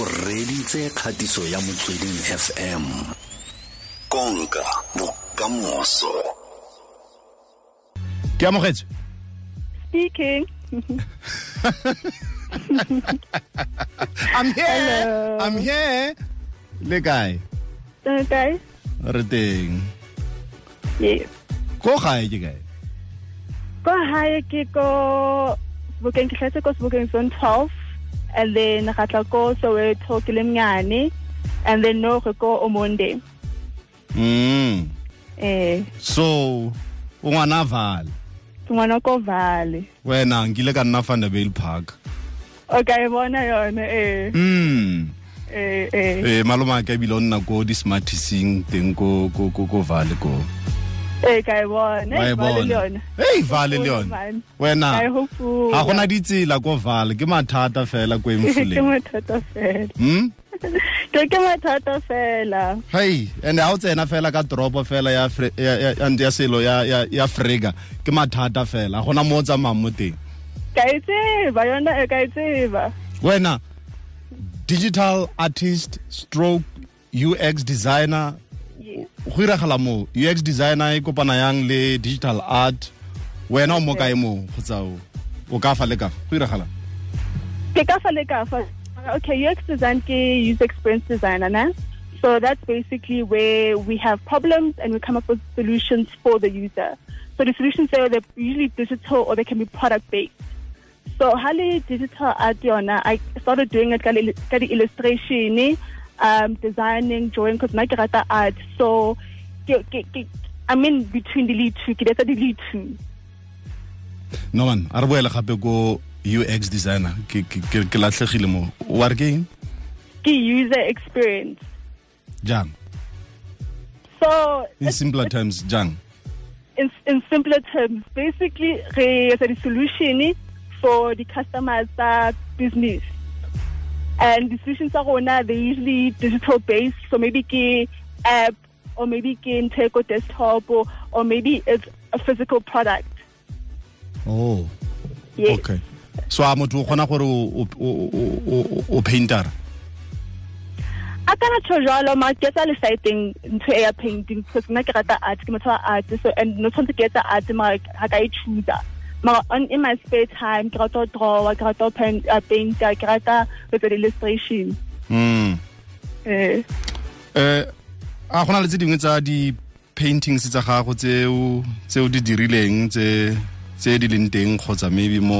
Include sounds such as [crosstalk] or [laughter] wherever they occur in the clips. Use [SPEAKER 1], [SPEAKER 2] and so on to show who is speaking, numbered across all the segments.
[SPEAKER 1] o reditse kgatiso ya motsweding fm konka bokamoso
[SPEAKER 2] ke amogetse
[SPEAKER 3] Speaking.
[SPEAKER 2] i'm here i'm here le kae
[SPEAKER 3] Okay.
[SPEAKER 2] re teng
[SPEAKER 3] Yeah.
[SPEAKER 2] ko gae ke kae
[SPEAKER 3] Ko hae ke ko Sebokeng ke hlahetse ko Sebokeng zone 12 and then ga tla ko Soweto ke le mnyane and then no re ko Omonde.
[SPEAKER 2] mm
[SPEAKER 3] Eh,
[SPEAKER 2] so o ngwana a vala
[SPEAKER 3] ke ngwana ko Vale.
[SPEAKER 2] wena nkile ka nna Vanderbilt park
[SPEAKER 3] Okay, e bona yona eh
[SPEAKER 2] mm
[SPEAKER 3] eh eh
[SPEAKER 2] eh maloma ka ebile o nna ko di-smartising teng ko ko ko ko vale ko
[SPEAKER 3] eh ka e bona
[SPEAKER 2] Wa e
[SPEAKER 3] eh, Vale le
[SPEAKER 2] bona. Ah.
[SPEAKER 3] yona.
[SPEAKER 2] Hei, vale le
[SPEAKER 3] Hopeful,
[SPEAKER 2] yona
[SPEAKER 3] man.
[SPEAKER 2] wena
[SPEAKER 3] Ka e hopola.
[SPEAKER 2] ga
[SPEAKER 3] [laughs]
[SPEAKER 2] gona ditsela ko vale ke mathata fela ko
[SPEAKER 3] ke
[SPEAKER 2] emfuleng
[SPEAKER 3] mathata fela.
[SPEAKER 2] mm
[SPEAKER 3] [laughs] Ke ke mathata fela.
[SPEAKER 2] hai and ha o tsena fela ka toropo fela ya Fre- ya- ya- ya- ya selo ya ya ya frega ke mathata fela ga gona mo o tsamayang mo teng
[SPEAKER 3] Ka itse ba yona e ka itse ba.
[SPEAKER 2] wena digital artist stroke ux designer
[SPEAKER 3] Yeah.
[SPEAKER 2] go iragala moo ux designer e kopana yang le digital art wena o mo kae moo kgotsa o- o ka fa le ka fa? go iragala
[SPEAKER 3] ke ka fa le ka fa okay ux design ke user experience designer na so that's basically where we have problems and we come up with solutions for the user so the solutions there they're usually digital or they can be product based so highly digital art yona i started doing it ka le- ka the illustration um designing drawing because na ke rata art so ke, ke, ke, i'm in between the lead two ke letsa the lead two
[SPEAKER 2] noman a re boele gape ko ux designer ke- ke ke- ke latlhegile moo wa re ke eng
[SPEAKER 3] ke user experience
[SPEAKER 2] jang
[SPEAKER 3] so
[SPEAKER 2] in simpler terms jang
[SPEAKER 3] in, in simpler terms, basically, re as a solution for the customers' uh, business. And the solutions are on, they're usually digital based, so maybe ke app, or maybe ke Inteco desktop, or, or maybe it's a physical product.
[SPEAKER 2] oh
[SPEAKER 3] Yes.
[SPEAKER 2] okay so a motho o kgona gore o- o- o- o- o- o paintera
[SPEAKER 3] a kana tjho jalo mara ke etsa lesaeteng ntho e ya painting because nna ke rata art ke motho wa art so and no tshwanetse ke etsa art mara ga ka e choosa mara on in my spare time ke rata ho drawa ke rata ho paint- uh, painta ke rata ho etsa illustration
[SPEAKER 2] mm
[SPEAKER 3] eh
[SPEAKER 2] eh a gona le tse dingwe tsa di-paintings tsa gago tse o- tse o di dirileng tse tse di leng teng kgotsa maybe mo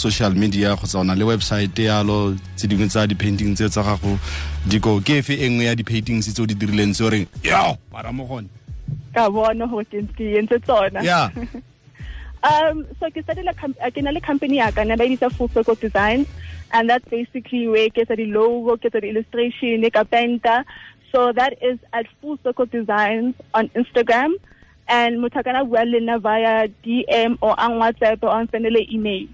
[SPEAKER 2] social media kgotsa ona le website yalo tse dingwe tsa di-painting tse tsa gago diko ke efe e nngwe ya di-paintings tse o di dirileng tse o reng yo mara mo gone
[SPEAKER 3] ka bona hore ke ke entse tsona [laughs]
[SPEAKER 2] ya
[SPEAKER 3] Um, so ke started com- uh, ke na le company ya ka na ba e bitsa full circle design and that's basically where ke etsa di-logo ke etsa di-illustration ka penta so that is at full circle designs on instagram and motho a kana bua le nna via dm or on whatsapp or on sendele email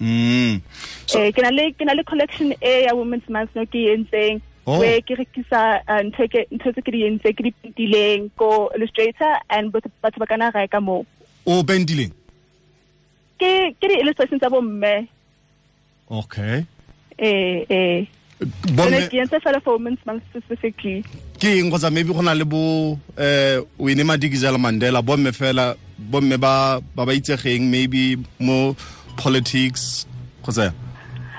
[SPEAKER 2] mm So-
[SPEAKER 3] Eh, ke na le ke na le collection e ya women's month no ke e entseng
[SPEAKER 2] Oh.
[SPEAKER 3] where ke rekisa uh, ntho e ke- ntho tse ke di entseng ke di pentileng ko illustrator and batho batho ba kana reka moo
[SPEAKER 2] o pentileng
[SPEAKER 3] ke ke di illustrations tsa bomme
[SPEAKER 2] okay
[SPEAKER 3] eh eh
[SPEAKER 2] Bomme-
[SPEAKER 3] Bomme. ke entse fela for women's month specifically
[SPEAKER 2] ke eng kgotsa maybe go na le bo eh wine madikizela mandela bomme fela bomme ba ba ba itsegeng maybe mo politics kgotsa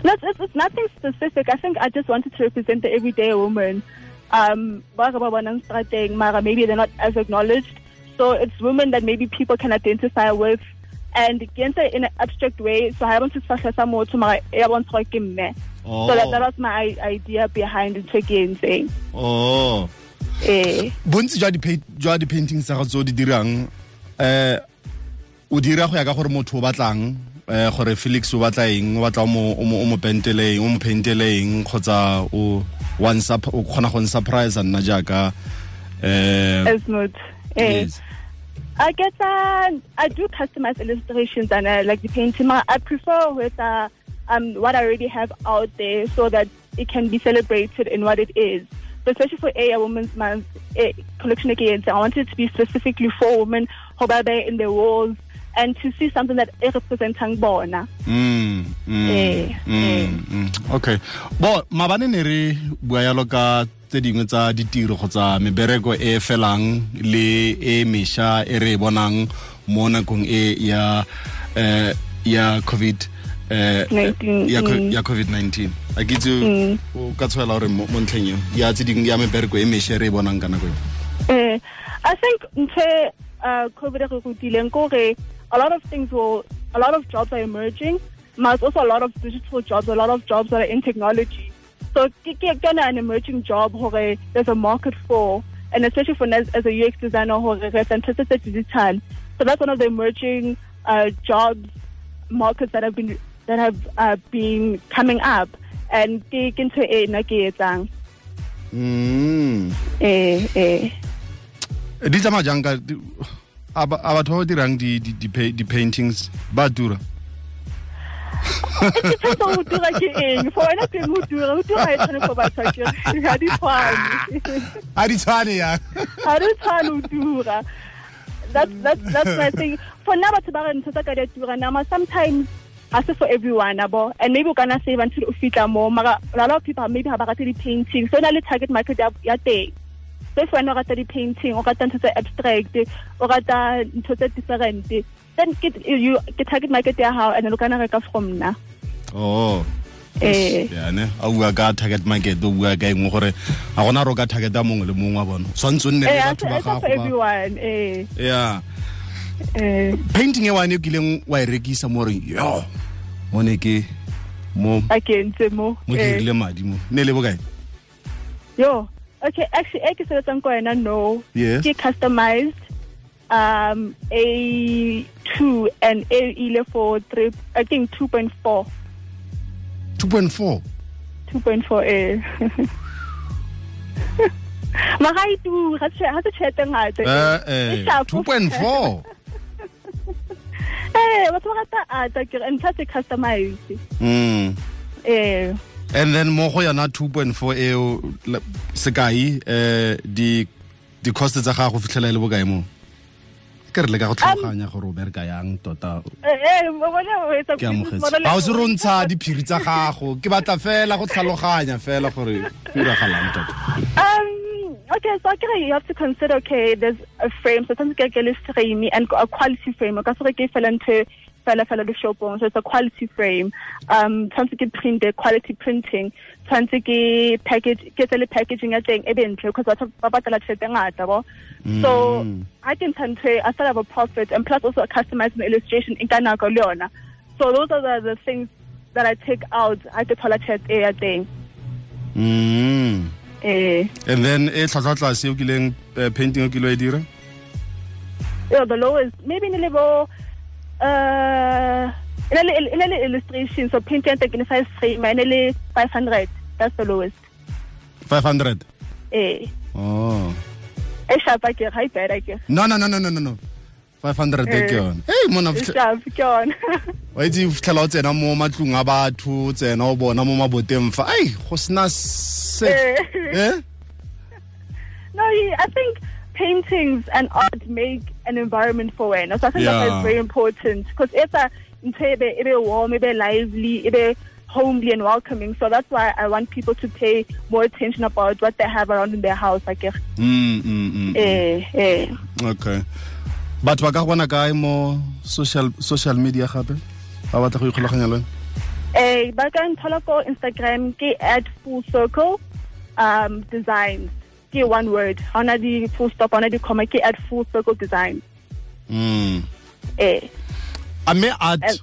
[SPEAKER 3] no, it's, it's, it's nothing specific i think i just wanted to represent the everyday woman um ba re ba bonang strateng mara maybe they're not as acknowledged so it's women that maybe people can identify with and ke entse in an abstract way so ha e bontshe sefahla sa motho mara e ya bontsha gore ke mme
[SPEAKER 2] Oh.
[SPEAKER 3] so that, that was my i- idea behind ntho e ke entseng
[SPEAKER 2] oh
[SPEAKER 3] eh
[SPEAKER 2] bontsi jwa di jwa di paintings tsa go tso di dirang eh o dira go ya ka gore motho o batlang eh gore Felix o batla eng o batla o mo o mo o mo pentele eng o mo pentele eng kgotsa o one sup o kgona go surprise nna jaaka eh
[SPEAKER 3] as not eh
[SPEAKER 2] yes.
[SPEAKER 3] I get uh, I do customized illustrations and uh, like the painting. but I prefer with uh, um, what I already have out there so that it can be celebrated in what it is. But especially for a Women's Month eh, collection again, I wanted it to be specifically for women who are there in their walls and to see something that e representang bona
[SPEAKER 2] Mm, mm,
[SPEAKER 3] Eh, eh.
[SPEAKER 2] mm, mm. okay bo mabane ne re bua yalo ka tse dingwe tsa ditiro kgotsa mebereko e felang le e mešwa e re e bonang mo nakong e ya eh, ya covid eh,
[SPEAKER 3] 19,
[SPEAKER 2] ya co-
[SPEAKER 3] mm.
[SPEAKER 2] ya covid-19 a ke itse o ka tshwaela gore mo mo ntlheng eo ya tse dingwe ya mebereko e mešwa e re e bonang ka nako eo
[SPEAKER 3] Eh, I think ntho uh, COVID e re rutileng ke hore a lot of things will, a lot of jobs are emerging. There's also a lot of digital jobs, a lot of jobs that are in technology. So ke ke gonna an emerging job hore there's a market for, and especially for us as a UX designer hore re sentse digital. So that's one of the emerging uh, jobs markets that have been that have uh, been coming up, and ke ke ntho e nna ke e etsang.
[SPEAKER 2] Mm.
[SPEAKER 3] Eh, eh.
[SPEAKER 2] di tsamaya jang ka di- a ba- a batho ba ba dirang di- di- di pa- di-paintings ba dura
[SPEAKER 3] ke tshepa o dira ke eng for wena teng o dira o dira e tshwane for batho akere ga di tshwane
[SPEAKER 2] a di tshwane yang
[SPEAKER 3] ga di tshwane o dira that's, that's, that's my thing for nna batho ba re ntho tsa ka di a tura nama sometimes ga se for everyone abo and maybe o kana save until o fitlha mo mara a lot of people maybe ga ba rate di-painting so o na le target market ya ya teng so if wena o rata di-painting o rata ntho tse abstract o rata ntho tse different then ke, you, ke target market ya gago and then o kana reka from nna
[SPEAKER 2] oh
[SPEAKER 3] eh
[SPEAKER 2] yane a bua ka target market o bua ka eng gore ga gona re o ka targeta mongwe le mongwe wa bona tshwanetse o nne le
[SPEAKER 3] Eh, I
[SPEAKER 2] batho
[SPEAKER 3] said-
[SPEAKER 2] ba
[SPEAKER 3] I said for
[SPEAKER 2] gago ba-
[SPEAKER 3] everyone. Eh,
[SPEAKER 2] ya
[SPEAKER 3] eh.
[SPEAKER 2] painting e wane o kileng wa e rekisa mo goreng yo mo ne ke mo
[SPEAKER 3] I can say more.
[SPEAKER 2] mo
[SPEAKER 3] Eh,
[SPEAKER 2] ke rile madi mo ne le bokae
[SPEAKER 3] Yo, okay. Actually, e I can say that no.
[SPEAKER 2] Yes.
[SPEAKER 3] Get customized. Um, a two and a ile for three. I think two point four.
[SPEAKER 2] two point four
[SPEAKER 3] Two point four a. [laughs] Mara I do. Has has a chat and has
[SPEAKER 2] Eh.
[SPEAKER 3] e
[SPEAKER 2] two point four
[SPEAKER 3] Eh, what's what I thought and that's customized.
[SPEAKER 2] Mm.
[SPEAKER 3] Eh.
[SPEAKER 2] and then mo go yona 2.4 eo le- sekai eh di di cost tsa gago go fitlhela e le bokae mo ke re le ka go tlhaloganya gore o bereka yang tota
[SPEAKER 3] Eh, eh, wa bona o etsa
[SPEAKER 2] ke
[SPEAKER 3] business
[SPEAKER 2] amogetse
[SPEAKER 3] model
[SPEAKER 2] ga o se
[SPEAKER 3] e-
[SPEAKER 2] re o ntsha diphiri tsa gago ke batla fela go tlhaloganya fela gore piragalang tota
[SPEAKER 3] Um, okay, so I think you have to consider, okay, there's a frame, so sometimes get a frame and a quality frame. Okay, so I fell into fella fella the shop so it's a quality frame. Um, trying to get print the quality printing, trying to get package, get the packaging at thing, even because that's about the last e So I can turn to I still have e, a profit and plus also a customizing illustration e in Ghana Leona. So those are the, the things that I take out at the toilet air thing.
[SPEAKER 2] Mm.
[SPEAKER 3] Eh.
[SPEAKER 2] and then e tlhatlhwa tlase o kileng eh, painting o kile wa e dira
[SPEAKER 3] Yeah, the lowest. Maybe in a level, uh, in a, li- in a li- illustration, so painting and taking five frame, and a li- 500. That's the lowest.
[SPEAKER 2] 500
[SPEAKER 3] Eh,
[SPEAKER 2] oh
[SPEAKER 3] eh, sharp, I guess. High bad, I guess.
[SPEAKER 2] no no no no no no no 500 e ke
[SPEAKER 3] Eh.
[SPEAKER 2] yone hey mona o
[SPEAKER 3] It's
[SPEAKER 2] fitlhe-
[SPEAKER 3] sharp, John.
[SPEAKER 2] wa itse o fitlhela o tsena mo matlong a batho o tsena o bona mo maboteng fa ai go sena se
[SPEAKER 3] Eh.
[SPEAKER 2] Eh?
[SPEAKER 3] [laughs] no, yeah, I think paintings and art make an environment for when. So I think that
[SPEAKER 2] Yeah.
[SPEAKER 3] is very important because it's a it be warm, it be lively, it be homely and welcoming. So that's why I want people to pay more attention about what they have around in their house, I guess.
[SPEAKER 2] Mm, mm, mm.
[SPEAKER 3] Eh, eh.
[SPEAKER 2] okay batho ba ka go bona kae mo social social media gape ba batla go ikgolaganya le wena?
[SPEAKER 3] Eh, ba ka nthola ko Instagram ke at full circle um, designs. Ke one word. Ha ona di full stop, ha ona di comma ke at full circle design.
[SPEAKER 2] Mm.
[SPEAKER 3] Eh,
[SPEAKER 2] a mme art
[SPEAKER 3] And-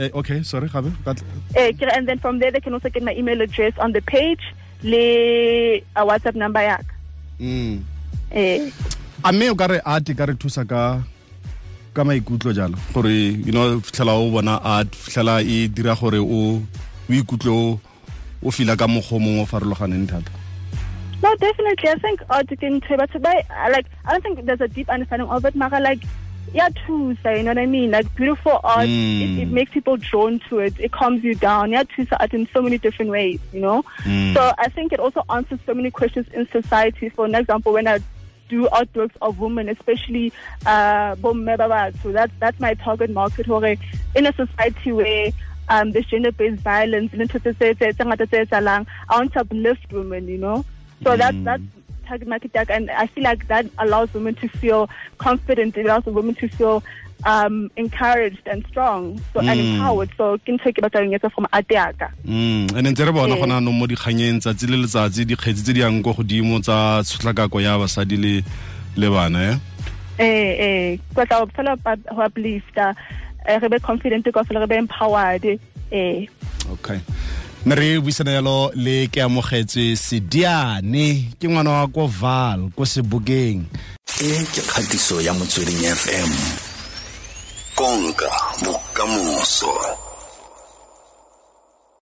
[SPEAKER 2] eh, okay sorry gabe Ka tl-
[SPEAKER 3] eh, ke re- and then from there they can also get my email address on the page le a WhatsApp number ya ka.
[SPEAKER 2] Mm.
[SPEAKER 3] Eh,
[SPEAKER 2] a mme o ka re art e ka re thusa ka ka maikutlo jalo gore you know fitlhela o bona art fitlhela e dira gore o o ikutlwe o- o fila ka mokgwa o mongwe o farologaneng thata
[SPEAKER 3] No, definitely. I think oh, art can but I like I don't think there's a deep understanding of it, Mara like yeah, too, so you know what I mean? Like beautiful art,
[SPEAKER 2] Mm.
[SPEAKER 3] it, it makes people drawn to it. It calms you down. Yeah, too, so art in so many different ways, you know.
[SPEAKER 2] Mm.
[SPEAKER 3] So I think it also answers so many questions in society. For an example, when I do artworks of women, especially uh, so that's that's my target market. Hore in a society where um, there's gender-based violence, le ntho tse- tse- tse- tse ngata tse etsahalang, I want to uplift women, you know. So that's that's target market ya ka, and I feel like that allows women to feel confident. It allows women to feel um, encouraged and strong, so and empowered. So ke ntho e ke batlang ho etsa from art ya ka.
[SPEAKER 2] Mm, and ntse re bona
[SPEAKER 3] Ee.
[SPEAKER 2] gona no mo dikganyeng tsatsi le letsatsi dikgetsi tse di yang go godimo tsa tshotlakako ya basadi le le bana eh?
[SPEAKER 3] eh eh kwa tla fela ho uplifta eh, re be confident ka fela re be empowered eh
[SPEAKER 2] okay mme re buisana yalo le ke amogetswe sediane ke ngwana wa ko val ko sebokeng
[SPEAKER 1] e ke kgatiso ya motsweding fm konka bokamoso